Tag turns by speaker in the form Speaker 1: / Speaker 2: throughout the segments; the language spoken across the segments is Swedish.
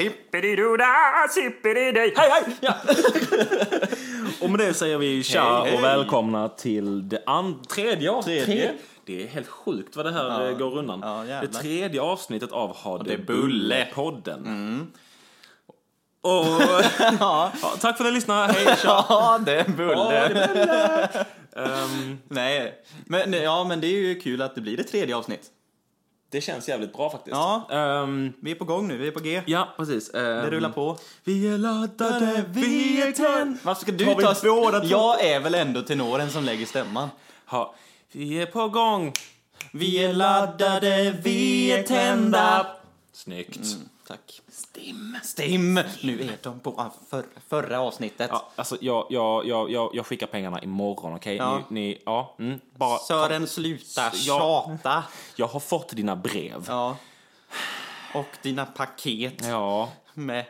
Speaker 1: Sipperidoda, sipperidej, hej hej! Ja.
Speaker 2: Och med det säger vi tja
Speaker 1: Hej, hej.
Speaker 2: och välkomna till det an- tredje avsnittet.
Speaker 1: Tredje.
Speaker 2: Det är helt sjukt vad det här
Speaker 1: Ja.
Speaker 2: eh, går undan.
Speaker 1: Ja, jävlar.
Speaker 2: det tredje avsnittet av Ha
Speaker 1: det
Speaker 2: det
Speaker 1: är Bulle. Mm.
Speaker 2: Bulle-podden. Och, ja, tack för att ni lyssnade, hej tja!
Speaker 1: Ja, det är
Speaker 2: Ha
Speaker 1: bulle.
Speaker 2: det Bulle! Ehm,
Speaker 1: Nej, men, ja, men det är ju kul att det blir det tredje avsnitt.
Speaker 2: det känns jävligt bra faktiskt.
Speaker 1: Ja.
Speaker 2: Ehm,
Speaker 1: Vi är på gång nu, vi är på G.
Speaker 2: ja precis. Ehm,
Speaker 1: Det rullar på.
Speaker 2: Vi är laddade, vi är tänd!
Speaker 1: Varför ska
Speaker 2: Har
Speaker 1: du
Speaker 2: vi
Speaker 1: ta...
Speaker 2: båda två-
Speaker 1: Jag är väl ändå tenoren som lägger stämman.
Speaker 2: Ha, vi är på gång!
Speaker 1: Vi är laddade, vi är tända.
Speaker 2: Snyggt.
Speaker 1: Mm. Tack. Stim. Stim. Nu är de på ah, för, förra avsnittet.
Speaker 2: Ja, alltså jag, jag, jag, jag, jag skickar pengarna imorgon, okej?
Speaker 1: Ja.
Speaker 2: Ni, ni, ja, mm, bara,
Speaker 1: Sören, sluta
Speaker 2: Ja.
Speaker 1: tjata.
Speaker 2: jag har fått dina brev. Ja.
Speaker 1: Ja. Och dina paket med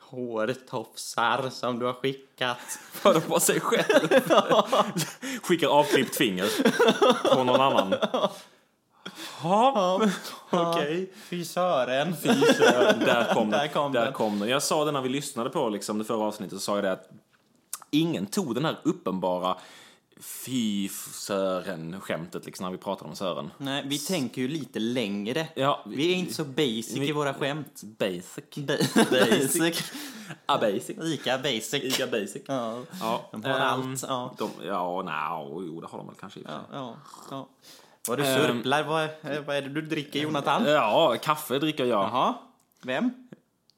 Speaker 1: hårtofsar som du har skickat.
Speaker 2: Hör på sig själv. Skickar avklippt finger på någon annan. Ja, okej.
Speaker 1: Fy Sören.
Speaker 2: Fy Sören, Där kom den.
Speaker 1: Där kom
Speaker 2: Där
Speaker 1: den.
Speaker 2: kom den. Jag sa det när vi lyssnade på liksom, det förra avsnittet, så sa jag det att ingen tog den här uppenbara Fy Sören-skämtet liksom, när vi pratade om Sören.
Speaker 1: Nej, vi tänker ju lite längre.
Speaker 2: Ja,
Speaker 1: Vi är inte så basic
Speaker 2: vi-
Speaker 1: i våra skämt.
Speaker 2: Basic.
Speaker 1: Ba-
Speaker 2: Basic.
Speaker 1: basic.
Speaker 2: Ah, basic.
Speaker 1: Ica basic.
Speaker 2: Ica basic.
Speaker 1: Ja.
Speaker 2: Ja,
Speaker 1: De har
Speaker 2: ehm,
Speaker 1: allt, ja.
Speaker 2: De, ja, no, jo, det har de väl kanske i och för
Speaker 1: Ja,
Speaker 2: sig.
Speaker 1: ja, ja. Vad du
Speaker 2: Ehm.
Speaker 1: sörplar. Vad, eh, vad är det du dricker, Jonathan?
Speaker 2: Ja, kaffe dricker jag.
Speaker 1: Jaha. Vem?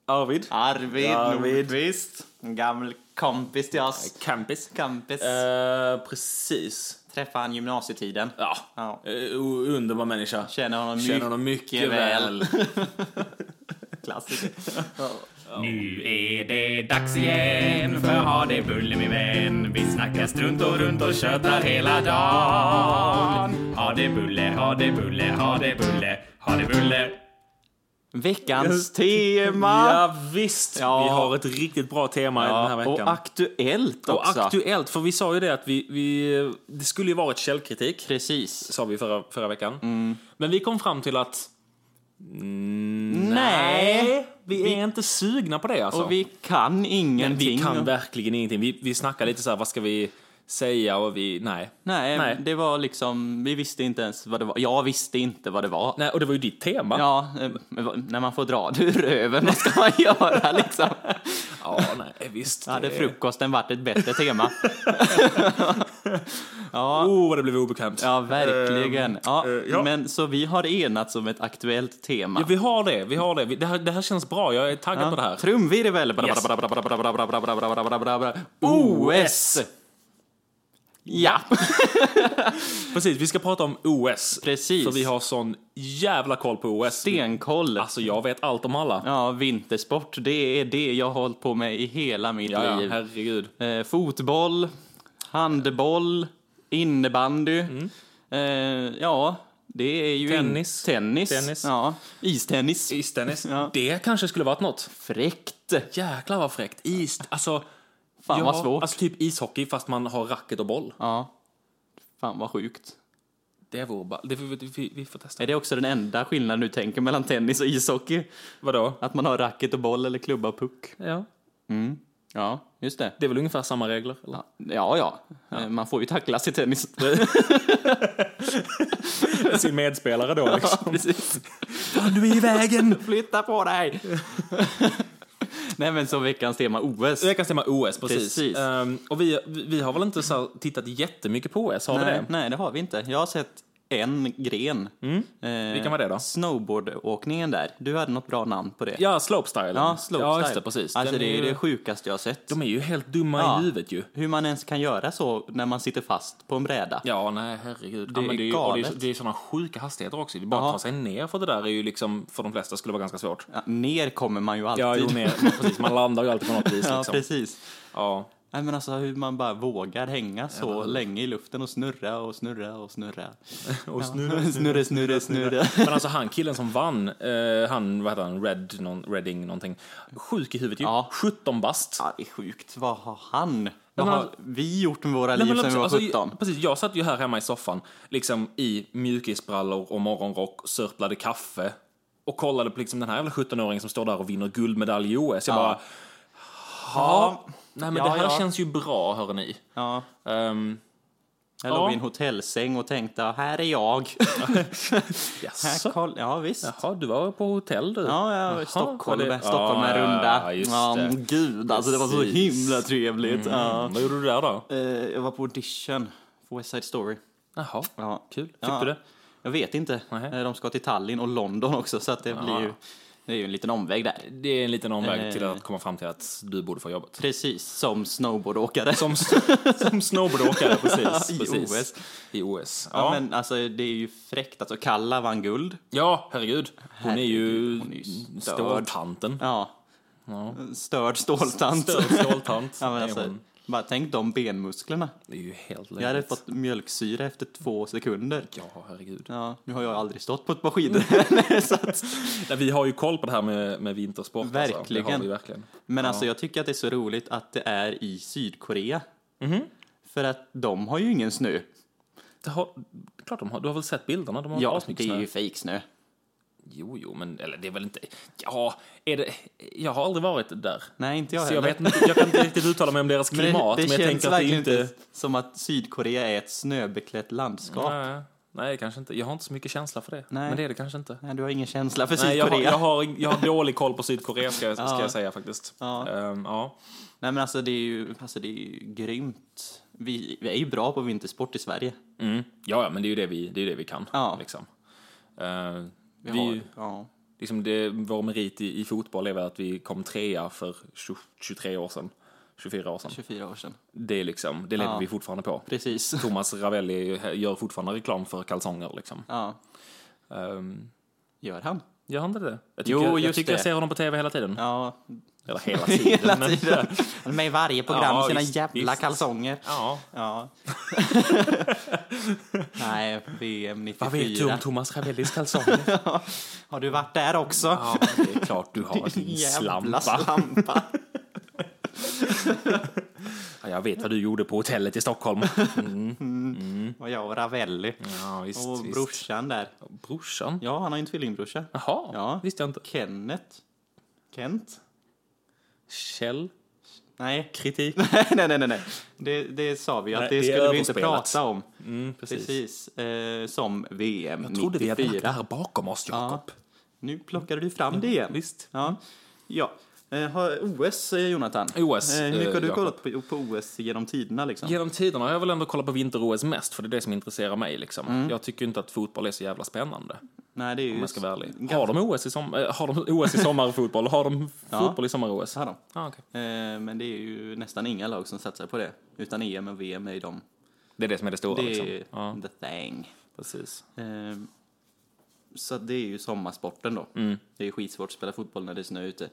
Speaker 2: Arvid.
Speaker 1: Arvid,
Speaker 2: Arvid.
Speaker 1: Nordqvist. En gammal kompis till oss.
Speaker 2: Campis.
Speaker 1: Kompis.
Speaker 2: Eh, precis.
Speaker 1: Träffade han gymnasietiden.
Speaker 2: Ja.
Speaker 1: Ja.
Speaker 2: Eh, o- underbar människa.
Speaker 1: Känner honom
Speaker 2: Känner honom mycket väl.
Speaker 1: Klassiker.
Speaker 3: Nu är det dags igen för ha det bulle min vän. Vi snackar strunt och runt och tjötar hela dagen. Ha det bulle, ha det bulle, ha det bulle, ha det bulle.
Speaker 1: Veckans tema!
Speaker 2: Ja, visst.
Speaker 1: Ja.
Speaker 2: Vi har ett riktigt bra tema den här veckan.
Speaker 1: och aktuellt
Speaker 2: Och
Speaker 1: också.
Speaker 2: aktuellt, för vi sa ju det att vi, vi, det skulle ju varit källkritik.
Speaker 1: Precis.
Speaker 2: sa vi förra, förra veckan.
Speaker 1: Mm.
Speaker 2: Men vi kom fram till att mm,
Speaker 1: Nej.
Speaker 2: vi, är inte sugna på det alltså.
Speaker 1: Och vi kan ingenting.
Speaker 2: Vi Alltså, kan verkligen ingenting. Vi, vi snackade lite så här, vad ska vi säga och vi, nej.
Speaker 1: Nej,
Speaker 2: Nej.
Speaker 1: det var liksom, vi visste inte ens vad det var. Jag visste inte vad det var.
Speaker 2: Nej, och det var ju ditt tema.
Speaker 1: Ja, eh, men vad- när man får dra det ur röven, vad ska man göra liksom?
Speaker 2: Ja, nej, eh, visst. det-
Speaker 1: Hade frukosten varit ett bättre tema?
Speaker 2: Oh, vad det blev obekvämt.
Speaker 1: Ja, verkligen. Ja,
Speaker 2: eh, ja.
Speaker 1: Men så vi har enats om ett aktuellt tema.
Speaker 2: Ja, vi har det, vi har det. Vi- Det här, det här känns bra, jag är taggad på det här.
Speaker 1: Trumvirvel!
Speaker 2: Yes.
Speaker 1: OS! Ja,
Speaker 2: Precis, vi ska prata om OS.
Speaker 1: Precis.
Speaker 2: För vi har sån jävla koll på OS.
Speaker 1: stenkoll.
Speaker 2: Alltså, jag vet allt om alla.
Speaker 1: Ja, vintersport, det är det jag har hållit på med i hela mitt
Speaker 2: Ja, ja,
Speaker 1: liv.
Speaker 2: herregud.
Speaker 1: Eh, fotboll, handboll, innebandy. Eh, ja, det är ju... in-
Speaker 2: Mm. Tennis.
Speaker 1: Tennis.
Speaker 2: Tennis.
Speaker 1: Ja. Istennis.
Speaker 2: Istennis.
Speaker 1: Ja.
Speaker 2: Det kanske skulle varit något.
Speaker 1: Fräckt.
Speaker 2: Jäklar vad fräckt. Is, alltså.
Speaker 1: Fan vad svårt.
Speaker 2: Alltså typ ishockey fast man har racket och boll.
Speaker 1: Ja. Fan vad sjukt.
Speaker 2: Det vore bara, det, vi, vi, vi får testa.
Speaker 1: Är det också den enda skillnaden du tänker mellan tennis och ishockey?
Speaker 2: Vadå?
Speaker 1: Att man har racket och boll eller klubba och puck?
Speaker 2: Ja.
Speaker 1: Ja, just det.
Speaker 2: Det är väl ungefär samma regler? Eller?
Speaker 1: Ja, ja. ja. Eh, Man får ju tacklas i tennis.
Speaker 2: Sin medspelare då liksom.
Speaker 1: Precis.
Speaker 2: Fan du är i vägen!
Speaker 1: Flytta på dig! Nej men så veckans tema OS.
Speaker 2: Veckans tema OS, precis.
Speaker 1: Precis.
Speaker 2: Ehm, och vi, vi vi har väl inte så här, tittat jättemycket på OS, har vi
Speaker 1: Nej,
Speaker 2: det?
Speaker 1: nej, det har vi inte. Jag har sett en gren.
Speaker 2: Mm.
Speaker 1: Eh,
Speaker 2: Vilken var det då?
Speaker 1: Snowboardåkningen där. Du hade något bra namn på det.
Speaker 2: Ja, slopestyle.
Speaker 1: ja slopestyle.
Speaker 2: Ja, just det, precis.
Speaker 1: Alltså
Speaker 2: Den
Speaker 1: det är ju
Speaker 2: ju-
Speaker 1: det sjukaste jag har sett.
Speaker 2: De är ju helt dumma
Speaker 1: Ja.
Speaker 2: i huvudet ju.
Speaker 1: Hur man ens kan göra så när man sitter fast på en bräda.
Speaker 2: Ja, nej herregud. Det, ja,
Speaker 1: är
Speaker 2: men det, är, ju- och det, är,
Speaker 1: galet.
Speaker 2: det är sådana sjuka hastigheter också. Det är bara att
Speaker 1: Ja.
Speaker 2: ta sig ner för det där är ju liksom, för de flesta skulle vara ganska svårt.
Speaker 1: Ja, ner kommer man ju alltid.
Speaker 2: Ja, jo, ner, men precis. Man landar ju alltid på något vis.
Speaker 1: Ja,
Speaker 2: Liksom.
Speaker 1: precis.
Speaker 2: Ja,
Speaker 1: Nej, men alltså hur man bara vågar hänga så länge i luften och snurra och snurra och snurra.
Speaker 2: och snurra.
Speaker 1: snurra, snurra, snurra.
Speaker 2: Men alltså han killen som vann, eh, han, vad heter han, Red, någon, Redding någonting. Sjuk i huvudet ju.
Speaker 1: Ja.
Speaker 2: 17 bast.
Speaker 1: Ja, det är sjukt. Vad har han? Vad
Speaker 2: men
Speaker 1: har
Speaker 2: alltså-
Speaker 1: vi gjort med våra
Speaker 2: Nej,
Speaker 1: liv
Speaker 2: men
Speaker 1: sedan vi var
Speaker 2: alltså,
Speaker 1: 17?
Speaker 2: jag- precis, jag satt ju här hemma i soffan, liksom i mjukisbrallor och morgonrock, sörplade kaffe och kollade på liksom den här jävla 17-åringen som står där och vinner guldmedalj i OS. Jag
Speaker 1: Ja.
Speaker 2: bara,
Speaker 1: Ja.
Speaker 2: nej men
Speaker 1: Ja,
Speaker 2: det här
Speaker 1: ja.
Speaker 2: känns ju bra hörni.
Speaker 1: ja.
Speaker 2: Um,
Speaker 1: Jag
Speaker 2: Ja.
Speaker 1: låg i en hotellsäng och tänkte, här är jag. här
Speaker 2: jaså?
Speaker 1: koll... Ja, visst.
Speaker 2: Jaha, du var på hotell du?
Speaker 1: Ja, ja
Speaker 2: Jaha,
Speaker 1: Stockholm,
Speaker 2: var det-
Speaker 1: Stockholm är
Speaker 2: Ja,
Speaker 1: runda.
Speaker 2: Ja, just
Speaker 1: Ja,
Speaker 2: det.
Speaker 1: gud, alltså det var så
Speaker 2: Precis.
Speaker 1: himla trevligt. Ja.
Speaker 2: Mm, vad gjorde du där då?
Speaker 1: Eh, Jag var på audition för West Side Story.
Speaker 2: Jaha,
Speaker 1: Ja.
Speaker 2: kul. Fick
Speaker 1: Ja.
Speaker 2: du det?
Speaker 1: Jag vet inte.
Speaker 2: Nej.
Speaker 1: Eh, De ska till Tallinn och London också så att det blir ju, det är ju en liten omväg där.
Speaker 2: Det är en liten omväg
Speaker 1: Eh.
Speaker 2: till att komma fram till att du borde få jobbet.
Speaker 1: Precis som snowboardåkare.
Speaker 2: Som, som snowboardåkare, precis.
Speaker 1: I
Speaker 2: precis.
Speaker 1: OS.
Speaker 2: I OS. Ja,
Speaker 1: Ja, men alltså det är ju fräckt. Alltså Kalla vann guld.
Speaker 2: ja herregud. Hon är ju
Speaker 1: Hon är ju störd.
Speaker 2: ståltanten.
Speaker 1: Ja. Störd ståltant.
Speaker 2: Störd ståltant.
Speaker 1: Ja, men
Speaker 2: är
Speaker 1: alltså,
Speaker 2: hon.
Speaker 1: bara tänk de benmusklerna.
Speaker 2: Det är ju helt
Speaker 1: Jag hade
Speaker 2: löjligt.
Speaker 1: fått mjölksyra efter två sekunder.
Speaker 2: Ja, herregud.
Speaker 1: Ja, nu har jag aldrig stått på ett par skidor. så att,
Speaker 2: Nej, vi har ju koll på det här med, med vintersport. Alltså. Det har
Speaker 1: Verkligen.
Speaker 2: vi verkligen.
Speaker 1: men alltså jag tycker att det är så roligt att det är i Sydkorea. Mhm. För att de har ju ingen snö.
Speaker 2: Det har, klart de har, du har väl sett bilderna? De har
Speaker 1: Ja,
Speaker 2: asmycket
Speaker 1: det är
Speaker 2: snö.
Speaker 1: ju fejksnö.
Speaker 2: Jo, jo, men eller det är väl inte... Ja, är det, jag har aldrig varit där.
Speaker 1: Nej, inte jag
Speaker 2: Så jag,
Speaker 1: heller.
Speaker 2: vet inte, jag kan inte riktigt uttala mig om deras
Speaker 1: Men det,
Speaker 2: klimat,
Speaker 1: det
Speaker 2: men, jag
Speaker 1: känns
Speaker 2: tänker att det
Speaker 1: verkligen
Speaker 2: inte...
Speaker 1: inte som att Sydkorea är ett snöbeklätt landskap.
Speaker 2: Nej, nej, kanske inte. Jag har inte så mycket känsla för det.
Speaker 1: Nej.
Speaker 2: Men det är det kanske inte.
Speaker 1: Nej, du har ingen känsla för
Speaker 2: Nej, jag,
Speaker 1: Sydkorea.
Speaker 2: har, jag, har, jag har dålig koll på Sydkorea, ska, jag- ska
Speaker 1: Ja.
Speaker 2: jag säga faktiskt.
Speaker 1: Ja.
Speaker 2: Ehm, ja.
Speaker 1: Nej, men alltså det är ju, alltså, det är ju grymt. Vi, vi är ju bra på vintersport i Sverige.
Speaker 2: Mm. ja, ja, men det är ju det vi, det är ju det vi kan.
Speaker 1: Ja.
Speaker 2: Liksom. Ehm,
Speaker 1: Vi,
Speaker 2: vi,
Speaker 1: har, ja.
Speaker 2: liksom det, vår merit i, i fotboll är väl att vi kom trea för 20, 23 år sedan. 24 år sedan.
Speaker 1: 24 år sedan.
Speaker 2: Det, är liksom, det lever
Speaker 1: Ja.
Speaker 2: vi fortfarande på.
Speaker 1: Precis.
Speaker 2: Thomas Ravelli gör fortfarande reklam för kalsonger. Liksom.
Speaker 1: Ja,
Speaker 2: Ehm,
Speaker 1: gör han?
Speaker 2: gör han inte det? Jag tycker,
Speaker 1: Jo,
Speaker 2: jag, jag,
Speaker 1: just
Speaker 2: tycker jag
Speaker 1: det.
Speaker 2: ser honom på tv hela tiden.
Speaker 1: Ja,
Speaker 2: Eller hela tiden.
Speaker 1: hela
Speaker 2: men-
Speaker 1: tiden. Han är med i varje program
Speaker 2: Ja,
Speaker 1: med sina
Speaker 2: visst,
Speaker 1: jävla
Speaker 2: visst.
Speaker 1: kalsonger.
Speaker 2: Ja.
Speaker 1: Ja. Nej, VM
Speaker 2: Vad vet du om
Speaker 1: 94.
Speaker 2: Thomas Ravellis kalsonger?
Speaker 1: Har du varit där också?
Speaker 2: ja, det är klart du har din
Speaker 1: Jävla
Speaker 2: slampa.
Speaker 1: slampa.
Speaker 2: Ja, jag vet vad du gjorde på hotellet i Stockholm.
Speaker 1: Och jag och Ravelli.
Speaker 2: Ja, visst,
Speaker 1: Och
Speaker 2: visst.
Speaker 1: brorsan där.
Speaker 2: Brorsan?
Speaker 1: Ja, han har ju en tvillingbrorsa.
Speaker 2: Jaha,
Speaker 1: Ja.
Speaker 2: visste jag inte.
Speaker 1: Kenneth. Kent?
Speaker 2: Käll?
Speaker 1: Nej.
Speaker 2: Kritik?
Speaker 1: nej, nej, nej, nej. Det, det sa vi ju
Speaker 2: Nej,
Speaker 1: att
Speaker 2: det
Speaker 1: det
Speaker 2: är
Speaker 1: skulle vi inte
Speaker 2: överspelat.
Speaker 1: prata om.
Speaker 2: Mm, precis.
Speaker 1: Precis. Eh, som VM
Speaker 2: Jag trodde vi hade lagt
Speaker 1: 94.
Speaker 2: det här bakom oss,
Speaker 1: Ja,
Speaker 2: Jakob.
Speaker 1: nu plockade du fram det igen.
Speaker 2: Visst.
Speaker 1: Ja. ja. Eh, har OS, eh, Jonathan.
Speaker 2: OS,
Speaker 1: Eh, hur
Speaker 2: eh,
Speaker 1: mycket har du
Speaker 2: Jakob.
Speaker 1: kollat på, på OS genom tiderna? Liksom?
Speaker 2: Genom tiderna har jag väl ändå kollat på vinter-OS mest, för det är det som intresserar mig. Liksom. Jag tycker inte att fotboll är så jävla spännande,
Speaker 1: Nej, det är
Speaker 2: om
Speaker 1: ju...
Speaker 2: jag ska vara ärlig. Har de OS i, som- eh, har de OS i sommarfotboll? Har de fotboll i sommar-OS?
Speaker 1: Så har de.
Speaker 2: Ah, okej.
Speaker 1: Eh, men det är ju nästan inga lag som satsar på det. Utan EM och VM är ju de.
Speaker 2: Det är det som är det stora.
Speaker 1: Det är ju
Speaker 2: liksom. ja,
Speaker 1: the thing.
Speaker 2: precis.
Speaker 1: Eh, så det är ju sommarsporten då.
Speaker 2: Mm.
Speaker 1: Det är ju skitsvårt att spela fotboll när det är snö ute.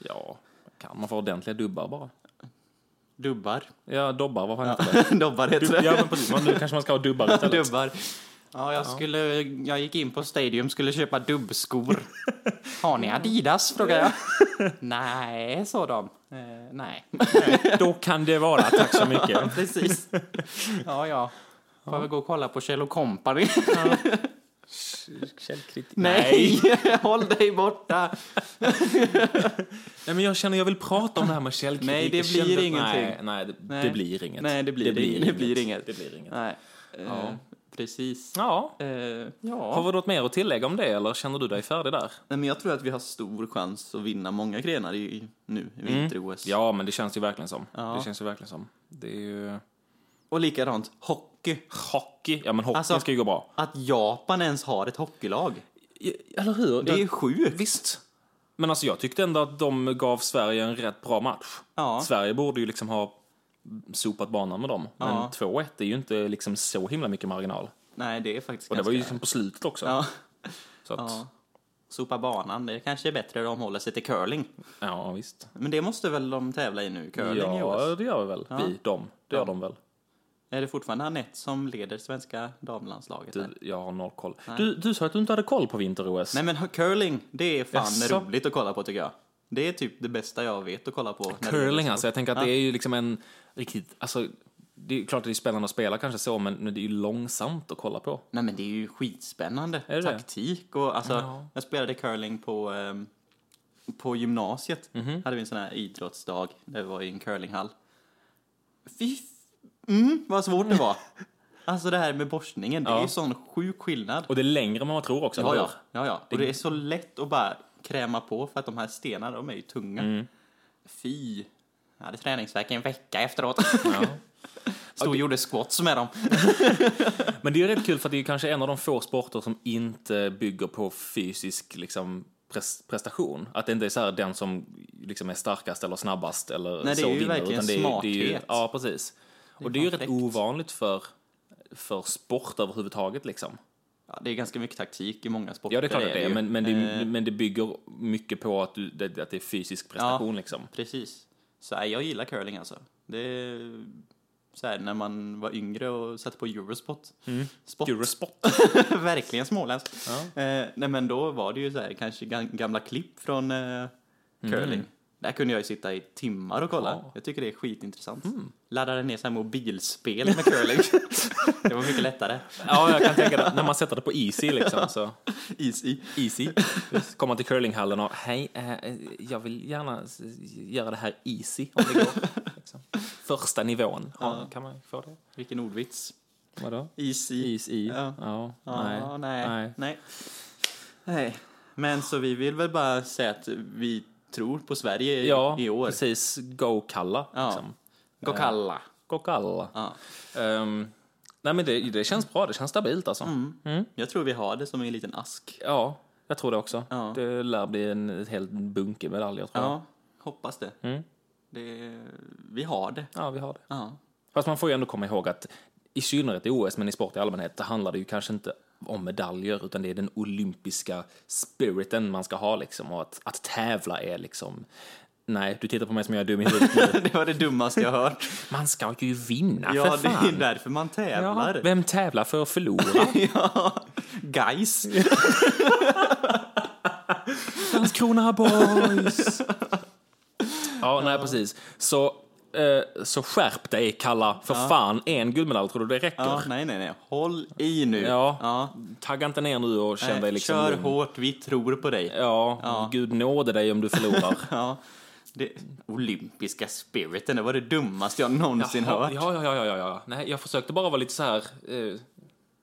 Speaker 2: Ja, kan man få ordentliga dubbar bara?
Speaker 1: Dubbar.
Speaker 2: Ja, dobbar, vad fan heter det?
Speaker 1: Dubbar heter det.
Speaker 2: Ja, men precis. Men nu kanske man ska ha dubbar istället.
Speaker 1: Dubbar. Ja, jag, skulle, jag gick in på Stadium skulle köpa dubbskor. Har ni Adidas? frågade jag. nej, sa de. Eh, nej.
Speaker 2: Då kan det vara, tack så mycket.
Speaker 1: Precis. Ja, ja. Får väl gå och kolla på Kjell Company.
Speaker 2: Källkritik. Nej.
Speaker 1: nej, håll dig borta.
Speaker 2: Nej, men jag känner jag vill prata om det här med källkritik.
Speaker 1: Nej, det
Speaker 2: Jag
Speaker 1: blir
Speaker 2: kände att-
Speaker 1: ingenting.
Speaker 2: Nej, nej, det,
Speaker 1: Nej.
Speaker 2: det blir inget.
Speaker 1: Nej, det blir, det blir, det blir inget.
Speaker 2: Det blir inget.
Speaker 1: Nej. Eh, Precis.
Speaker 2: Ja.
Speaker 1: Eh, ja.
Speaker 2: Har vi något mer att tillägga om det eller känner du dig färdig där?
Speaker 1: Nej, men jag tror att vi har stor chans att vinna många grenar i, i- nu i vinter-OS.
Speaker 2: Ja, men det känns ju verkligen som. Det känns ju verkligen som. Det är ju...
Speaker 1: Och likadant hockey.
Speaker 2: Hockey. Ja, men hockey
Speaker 1: Alltså-
Speaker 2: ska ju gå bra.
Speaker 1: Att Japan ens har ett hockeylag.
Speaker 2: Eller hur?
Speaker 1: Det är ju sjukt.
Speaker 2: Visst. Men alltså jag tyckte ändå att de gav Sverige en rätt bra match.
Speaker 1: Ja.
Speaker 2: Sverige borde ju liksom ha sopat banan med dem. Men
Speaker 1: Ja.
Speaker 2: 2-1 är ju inte liksom så himla mycket marginal.
Speaker 1: Nej, det är faktiskt
Speaker 2: Och det
Speaker 1: ganska...
Speaker 2: var ju liksom på slutet också.
Speaker 1: Ja.
Speaker 2: Så att, ja.
Speaker 1: Sopa banan, det kanske är bättre om de håller sig till curling.
Speaker 2: visst.
Speaker 1: Men det måste väl de tävla i nu, curling i
Speaker 2: Ja,
Speaker 1: OS?
Speaker 2: det gör vi väl. Vi, de. Det gör de väl.
Speaker 1: Är det fortfarande Anette som leder svenska damlandslaget? här?
Speaker 2: Du, jag har noll koll. Du, du sa att du inte hade koll på vinter-OS.
Speaker 1: Nej men h- curling, det är fan
Speaker 2: Jaså?
Speaker 1: roligt att kolla på tycker jag. Det är typ det bästa jag vet att kolla på. när det gäller
Speaker 2: Curling
Speaker 1: sport.
Speaker 2: alltså, jag tänker att det är ju liksom en riktigt, alltså det är ju klart att det är spännande att spela kanske så, men men det är ju långsamt att kolla på.
Speaker 1: Nej men det är ju skitspännande.
Speaker 2: Är det det?
Speaker 1: Taktik och alltså, jag spelade curling på, ehm, på gymnasiet.
Speaker 2: Mhm.
Speaker 1: Hade vi en sån här idrottsdag, där vi var i en curlinghall. Fy f- mm, vad svårt det var. Alltså det här med borstningen, det är ju sån sjuk skillnad.
Speaker 2: Och det är längre än vad man tror också.
Speaker 1: Ja,
Speaker 2: eller
Speaker 1: ja,
Speaker 2: hur?
Speaker 1: ja, ja. Och det är så lätt att bara kräma på för att de här stenarna, de är ju tunga.
Speaker 2: Mm.
Speaker 1: Fy. Jag hade träningsvärk i en vecka efteråt. Stod och gjorde squats med dem.
Speaker 2: Men det är ju rätt kul för att det är kanske en av de få sporter som inte bygger på fysisk liksom, pres- prestation. Att det inte är så här den som liksom är starkast eller snabbast eller
Speaker 1: Nej, det är
Speaker 2: så
Speaker 1: ju
Speaker 2: vinner.
Speaker 1: verkligen
Speaker 2: utan det är, det är ju,
Speaker 1: smarthet.
Speaker 2: Ja, precis. och det är ju rätt
Speaker 1: perfekt.
Speaker 2: ovanligt för, för sport överhuvudtaget liksom.
Speaker 1: Ja, det är ganska mycket taktik i många sporter.
Speaker 2: Ja, det är klart att det är,
Speaker 1: ju. Eh.
Speaker 2: men, men, det, men det bygger mycket på att, du, det, att det är fysisk prestation liksom.
Speaker 1: Precis. Så här, jag gillar curling alltså. Det är så här, när man var yngre och satte på Eurosport. Sport.
Speaker 2: Eurosport.
Speaker 1: Verkligen småländskt. Eh, nej men då var det ju så här, kanske gam- gamla klipp från eh, curling. Där kunde jag ju sitta i timmar och kolla.
Speaker 2: Ja.
Speaker 1: Jag tycker det är skitintressant. Laddade ner så här mobilspel med curling. det var mycket lättare.
Speaker 2: Ja, jag kan tänka det. När man sätter det på easy liksom så.
Speaker 1: Easy.
Speaker 2: Easy. Komma till curlinghallen och hej, eh, eh, jag vill gärna s- göra det här easy om det går. Liksom. Första nivån. Ja, Kan man få det?
Speaker 1: Vilken ordvits.
Speaker 2: Vadå?
Speaker 1: Easy.
Speaker 2: Easy.
Speaker 1: Ja.
Speaker 2: Ja.
Speaker 1: Ja,
Speaker 2: nej.
Speaker 1: nej. Nej. nej. Men så vi vill väl bara säga att vi tror på Sverige i,
Speaker 2: Ja,
Speaker 1: i år.
Speaker 2: precis. Go-kalla.
Speaker 1: Ja.
Speaker 2: Liksom.
Speaker 1: Gå kalla.
Speaker 2: Go-kalla.
Speaker 1: Ja.
Speaker 2: Ehm, nej, men det, det känns bra. Det känns stabilt alltså.
Speaker 1: Mm. Jag tror vi har det som en liten ask.
Speaker 2: Ja, jag tror det också.
Speaker 1: Ja.
Speaker 2: Det lär bli en ett helt bunke medaljer tror jag.
Speaker 1: Ja, hoppas det. det. Vi har det.
Speaker 2: Mm. Ja, vi har det.
Speaker 1: Ja.
Speaker 2: Fast man får ju ändå komma ihåg att i synnerhet i OS, men i sport i allmänhet, det handlar det ju kanske inte om medaljer, utan det är den olympiska spiriten man ska ha liksom. Och att, att tävla är liksom... Nej, du tittar på mig som jag är dum i huvudet nu.
Speaker 1: det var det dummaste jag hört.
Speaker 2: Man ska ju vinna,
Speaker 1: ja,
Speaker 2: för
Speaker 1: det
Speaker 2: fan!
Speaker 1: är därför man tävlar.
Speaker 2: Ja, vem tävlar för att förlora?
Speaker 1: Guys.
Speaker 2: Landskrona boys! ja, nej precis. Så, eh, så skärp dig, Kalla. För fan, en guldmedalj, tror du det räcker?
Speaker 1: Ja, nej, nej, nej. Håll i nu.
Speaker 2: Ja. Tagga inte ner nu och känn dig
Speaker 1: Nej,
Speaker 2: liksom
Speaker 1: Kör
Speaker 2: lugn.
Speaker 1: hårt, vi tror på dig.
Speaker 2: Ja, gud nåde dig om du förlorar.
Speaker 1: Ja. Det, olympiska spiriten, det var det dummaste jag någonsin
Speaker 2: ja,
Speaker 1: hört.
Speaker 2: ja, ja, ja, ja, ja. Nej, jag försökte bara vara lite så här... eh,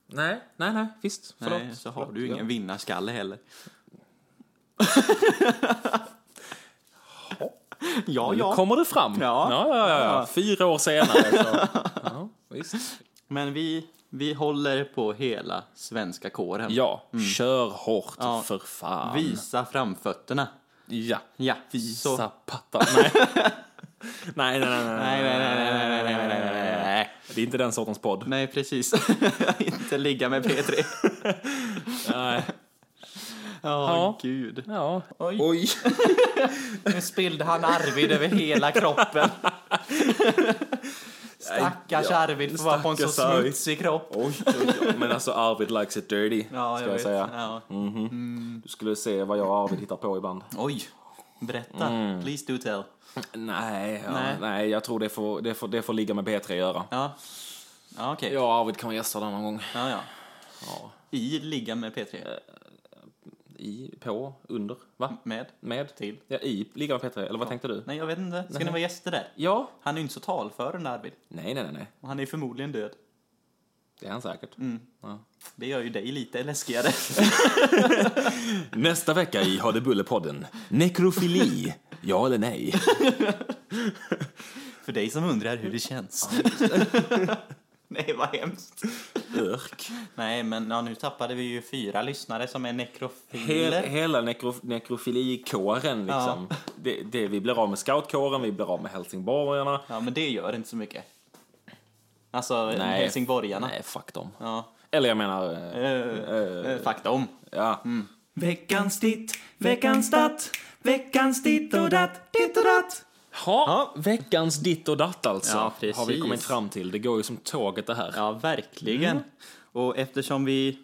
Speaker 2: nej, nej, nej, visst. Förlåt.
Speaker 1: Nej, så har
Speaker 2: förlåt.
Speaker 1: du ju ingen vinnarskalle heller. ja,
Speaker 2: Nu
Speaker 1: ja.
Speaker 2: kommer det fram.
Speaker 1: Ja.
Speaker 2: Ja, ja, ja, ja. Fyra år senare. Så. Ja, visst.
Speaker 1: Men vi, vi håller på hela svenska kåren.
Speaker 2: Ja, kör hårt
Speaker 1: Mm. Ja.
Speaker 2: för fan.
Speaker 1: Visa framfötterna.
Speaker 2: Ja.
Speaker 1: Ja,
Speaker 2: Visa
Speaker 1: så.
Speaker 2: patta. Nej. nej, nej, nej, nej, nej.
Speaker 1: Nej, nej, nej, nej, nej, nej, nej, nej, nej, nej.
Speaker 2: Det är inte den sortens podd.
Speaker 1: Nej, precis. Inte ligga med P3.
Speaker 2: Nej.
Speaker 1: Åh,
Speaker 2: Ja.
Speaker 1: gud.
Speaker 2: Ja.
Speaker 1: Oj. Nu spillde han Arvid över hela kroppen. Stackars Arvid får vara på en så
Speaker 2: Stackars Arvid.
Speaker 1: smutsig kropp.
Speaker 2: Oj, oj, oj. Men alltså Arvid likes it dirty,
Speaker 1: Ja,
Speaker 2: ska
Speaker 1: jag
Speaker 2: jag,
Speaker 1: vet.
Speaker 2: säga. Mm.
Speaker 1: Ja.
Speaker 2: Du skulle se vad jag och Arvid hittar på ibland.
Speaker 1: Oj. Berätta.
Speaker 2: Mm.
Speaker 1: Please do tell.
Speaker 2: Nej, ja,
Speaker 1: Nej.
Speaker 2: nej. jag tror det får, det, får, det får ligga med P3 att göra.
Speaker 1: Ja. Ja, okej.
Speaker 2: Jag och Arvid kan vara gäster där någon gång.
Speaker 1: Ja, ja.
Speaker 2: Ja.
Speaker 1: I ligga med P3.
Speaker 2: I, på, under, va?
Speaker 1: Med.
Speaker 2: Med?
Speaker 1: Till.
Speaker 2: Ja, i, ligga med P3, eller vad tänkte du?
Speaker 1: Nej, jag vet inte. Ska ni vara gäster där?
Speaker 2: Ja?
Speaker 1: Han är ju inte så talförande, Arvid.
Speaker 2: Nej, nej, nej, nej.
Speaker 1: Och han är förmodligen död.
Speaker 2: Det är han säkert. Ja.
Speaker 1: Det gör ju dig lite läskigare.
Speaker 2: Nästa vecka i Hade Bulle-podden. Nekrofili. ja eller nej?
Speaker 1: För dig som undrar hur det känns. Nej, vad hemskt.
Speaker 2: Örk.
Speaker 1: Nej, men ja, nu tappade vi ju fyra lyssnare som är
Speaker 2: Hela,
Speaker 1: nekrofiler.
Speaker 2: hela nekro, nekrofilikåren, liksom. Det, det, vi blir av med scoutkåren, vi blir av med helsingborgarna.
Speaker 1: Ja, men det gör inte så mycket. Alltså,
Speaker 2: Nej.
Speaker 1: helsingborgarna.
Speaker 2: Nej, fuck dem.
Speaker 1: Ja.
Speaker 2: Eller jag menar... eh,
Speaker 1: Eh, Fakta om.
Speaker 2: Ja.
Speaker 3: Veckans ditt, veckans datt, veckans ditt och datt, ditt och datt.
Speaker 2: Ha, veckans ditt och datt alltså.
Speaker 1: Ja, precis.
Speaker 2: Har vi kommit fram till. Det går ju som tåget det här.
Speaker 1: Ja, verkligen. Och eftersom vi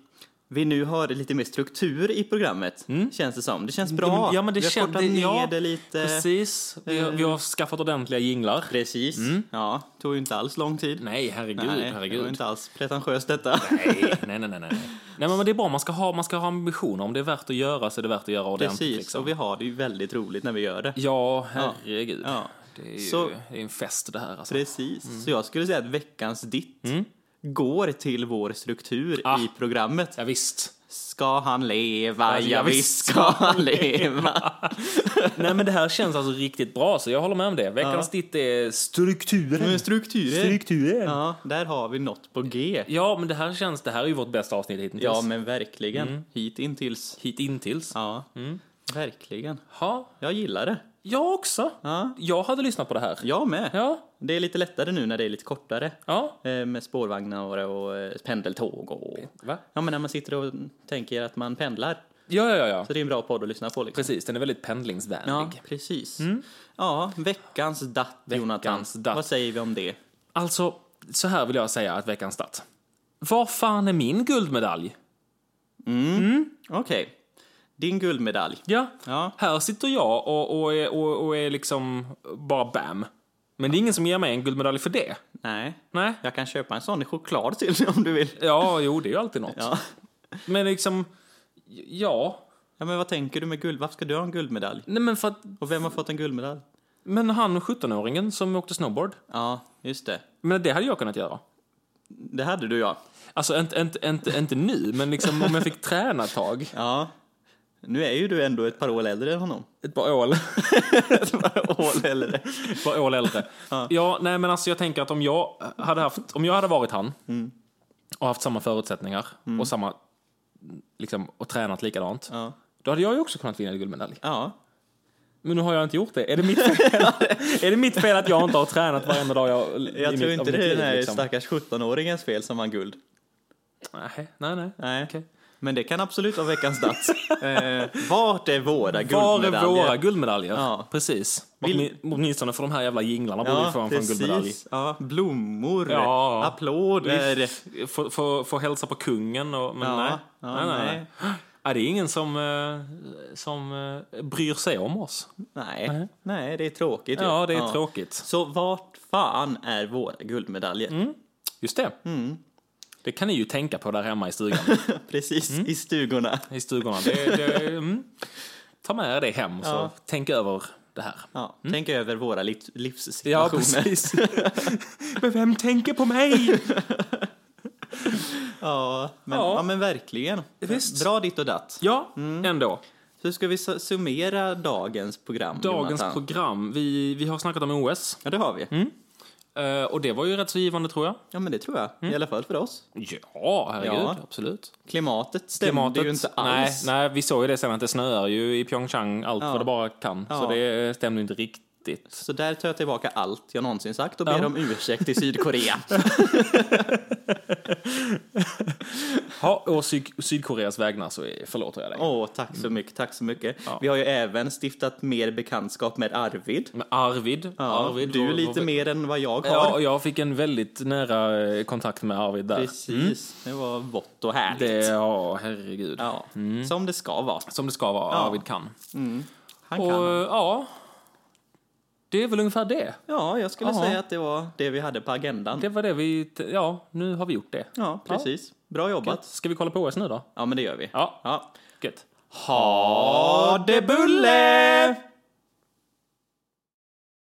Speaker 1: vi nu har lite mer struktur i programmet, känns det som. Det känns bra.
Speaker 2: Mm. Ja, men det
Speaker 1: vi har
Speaker 2: kände-
Speaker 1: kortat ner
Speaker 2: ja,
Speaker 1: det lite.
Speaker 2: Precis. Vi har, vi har skaffat ordentliga jinglar.
Speaker 1: Precis. Ja, tog ju inte alls lång tid.
Speaker 2: Mm. Nej, herregud,
Speaker 1: det var
Speaker 2: herregud.
Speaker 1: inte alls pretentiöst detta.
Speaker 2: Nej, nej, nej, nej. nej. nej men det är bra, man ska, ha, man ska ha ambitioner. Om det är värt att göra så är det värt att göra ordentligt.
Speaker 1: Precis,
Speaker 2: liksom.
Speaker 1: och vi har det ju väldigt roligt när vi gör det.
Speaker 2: Ja, herregud.
Speaker 1: Ja.
Speaker 2: Det är ju
Speaker 1: Så-
Speaker 2: det är en fest det här alltså.
Speaker 1: Precis, så jag skulle säga att veckans ditt går till vår struktur
Speaker 2: Mm. Ah.
Speaker 1: i programmet.
Speaker 2: Ja, visst.
Speaker 1: Ska han leva?
Speaker 2: Ja,
Speaker 1: Ja,
Speaker 2: visst
Speaker 1: visst ska han leva.
Speaker 2: Nej men det här känns alltså riktigt bra så jag håller med om det. Veckans ditt är strukturen.
Speaker 1: Men strukturen,
Speaker 2: Strukturen. Ja.
Speaker 1: ja, där har vi något på G.
Speaker 2: men det här känns, det här är ju vårt bästa avsnitt hittills.
Speaker 1: Ja, men verkligen.
Speaker 2: Mm.
Speaker 1: Hitintills.
Speaker 2: Hitintills.
Speaker 1: Ja,
Speaker 2: Mm.
Speaker 1: verkligen.
Speaker 2: Ja,
Speaker 1: Jag gillar det.
Speaker 2: jag också.
Speaker 1: Ja.
Speaker 2: Jag hade lyssnat på det här.
Speaker 1: Jag med.
Speaker 2: Ja,
Speaker 1: Det är lite lättare nu när det är lite kortare.
Speaker 2: ja.
Speaker 1: Eh, Med spårvagnar och eh, pendeltåg och...
Speaker 2: Va?
Speaker 1: Ja, men när man sitter och tänker att man pendlar.
Speaker 2: Ja, ja, ja, ja.
Speaker 1: Så det är en bra podd att lyssna på liksom.
Speaker 2: Precis, den är väldigt pendlingsvänlig.
Speaker 1: Ja, precis. Ja, veckans datt, Jonathan.
Speaker 2: datt.
Speaker 1: Vad säger vi om det?
Speaker 2: Alltså, så här vill jag säga att veckans start. Var fan är min guldmedalj?
Speaker 1: Okej. Din guldmedalj.
Speaker 2: Ja,
Speaker 1: Ja.
Speaker 2: här sitter jag och, och, är, och, och är liksom bara bam. Men det är ingen som ger mig en guldmedalj för det.
Speaker 1: Nej.
Speaker 2: Nej.
Speaker 1: Jag kan köpa en sån i choklad till dig om du vill.
Speaker 2: Ja, jo, det är ju alltid något.
Speaker 1: Ja.
Speaker 2: Men liksom, ja.
Speaker 1: ja, men vad tänker du med guld? Varför ska du ha en guldmedalj?
Speaker 2: Nej, men för att,
Speaker 1: Och vem har fått en guldmedalj?
Speaker 2: men han 17-åringen som åkte snowboard.
Speaker 1: Ja, just det.
Speaker 2: Men det hade jag kunnat göra.
Speaker 1: Det hade du, ja.
Speaker 2: Alltså inte, inte, inte, inte nu, men liksom om jag fick träna ett tag.
Speaker 1: Ja. Nu är ju du ändå ett par år äldre än honom.
Speaker 2: Ett par år,
Speaker 1: Ett par år äldre.
Speaker 2: ett par år äldre. Ja, nej men alltså jag tänker att om jag hade haft, om jag hade varit han
Speaker 1: Mm.
Speaker 2: och haft samma förutsättningar och samma, liksom, och tränat likadant.
Speaker 1: Ja.
Speaker 2: Då hade jag ju också kunnat vinna en guldmedalj.
Speaker 1: Ja.
Speaker 2: Men nu har jag inte gjort det. Är det mitt fel, är det mitt fel att jag inte har tränat varenda dag jag,
Speaker 1: Jag tror inte det är den här
Speaker 2: liksom?
Speaker 1: stackars 17-åringens fel som vann guld.
Speaker 2: Nej, nej, nej.
Speaker 1: Nej.
Speaker 2: Okej.
Speaker 1: Men det kan absolut vara veckans datt. eh, vart är våra
Speaker 2: Var är
Speaker 1: guldmedaljer?
Speaker 2: våra guldmedaljer?
Speaker 1: Ja.
Speaker 2: Precis.
Speaker 1: Vill-
Speaker 2: Åtmi- Åtminstone för de här jävla jinglarna borde vi få en från
Speaker 1: precis.
Speaker 2: guldmedalj.
Speaker 1: Ja, blommor,
Speaker 2: Ja.
Speaker 1: applåder.
Speaker 2: Få- Få få hälsa på kungen och... Men
Speaker 1: Ja,
Speaker 2: nej.
Speaker 1: ja,
Speaker 2: nej, nej,
Speaker 1: nej.
Speaker 2: nej. Ja, det är ingen som, eh, som eh, bryr sig om oss.
Speaker 1: Nej. Nej, det är tråkigt. ju.
Speaker 2: Ja, det är tråkigt.
Speaker 1: Så vart fan är våra guldmedaljer?
Speaker 2: Mm. Just det. Det kan ni ju tänka på där hemma i stugan.
Speaker 1: Precis,
Speaker 2: Mm.
Speaker 1: i stugorna.
Speaker 2: I stugorna. Det, det, mm. Ta med er det hem och så
Speaker 1: Ja.
Speaker 2: tänk över det här.
Speaker 1: Ja, Tänk över våra liv,
Speaker 2: Mm. Ja,
Speaker 1: livssituationer.
Speaker 2: precis. men vem tänker på mig?
Speaker 1: Ja, men,
Speaker 2: Ja.
Speaker 1: ja. men verkligen.
Speaker 2: Visst.
Speaker 1: Bra ditt och datt.
Speaker 2: Ja, ändå.
Speaker 1: Hur ska vi su- summera dagens program,
Speaker 2: Dagens Mm.
Speaker 1: Jonathan?
Speaker 2: program. Vi, vi har snackat om OS.
Speaker 1: Ja, det har vi.
Speaker 2: eh, Och det var ju rätt så givande tror jag.
Speaker 1: Ja, men det tror jag.
Speaker 2: Mm.
Speaker 1: I alla fall för oss.
Speaker 2: Ja, herregud.
Speaker 1: Ja.
Speaker 2: Absolut.
Speaker 1: Klimatet stämde ju inte alls.
Speaker 2: Nej, nej, vi såg ju det sen att det snöar ju i Pyeongchang allt vad det bara kan. Så
Speaker 1: Ja.
Speaker 2: det stämde ju inte riktigt.
Speaker 1: Så där tar jag tillbaka allt jag någonsin sagt och ber
Speaker 2: Ja.
Speaker 1: om ursäkt till Sydkorea.
Speaker 2: Ja, och Syd- Sydkoreas vägnar så är- förlåter jag dig.
Speaker 1: Åh, tack så mycket, tack så mycket.
Speaker 2: Ja.
Speaker 1: Vi har ju även stiftat mer bekantskap med Arvid.
Speaker 2: Men Arvid.
Speaker 1: Ja,
Speaker 2: Arvid
Speaker 1: du
Speaker 2: vår-
Speaker 1: lite
Speaker 2: vår-
Speaker 1: mer än vad jag har.
Speaker 2: Ja, och jag fick en väldigt nära eh, kontakt med Arvid där.
Speaker 1: Precis, det var vått och härligt.
Speaker 2: Det, mm. ja, herregud.
Speaker 1: Ja, som det ska vara.
Speaker 2: Som det ska vara, Arvid kan.
Speaker 1: Han
Speaker 2: Och
Speaker 1: kan.
Speaker 2: ja, det är väl ungefär det.
Speaker 1: Ja, jag skulle
Speaker 2: Jaha.
Speaker 1: säga att det var det vi hade på agendan.
Speaker 2: Det var det vi, t- ja, nu har vi gjort det.
Speaker 1: Ja, precis. Bra jobbat.
Speaker 2: Ska vi kolla på OS nu då?
Speaker 1: Ja, men det gör vi.
Speaker 2: Ja,
Speaker 1: Ja.
Speaker 2: gött.
Speaker 1: Ha det bulle!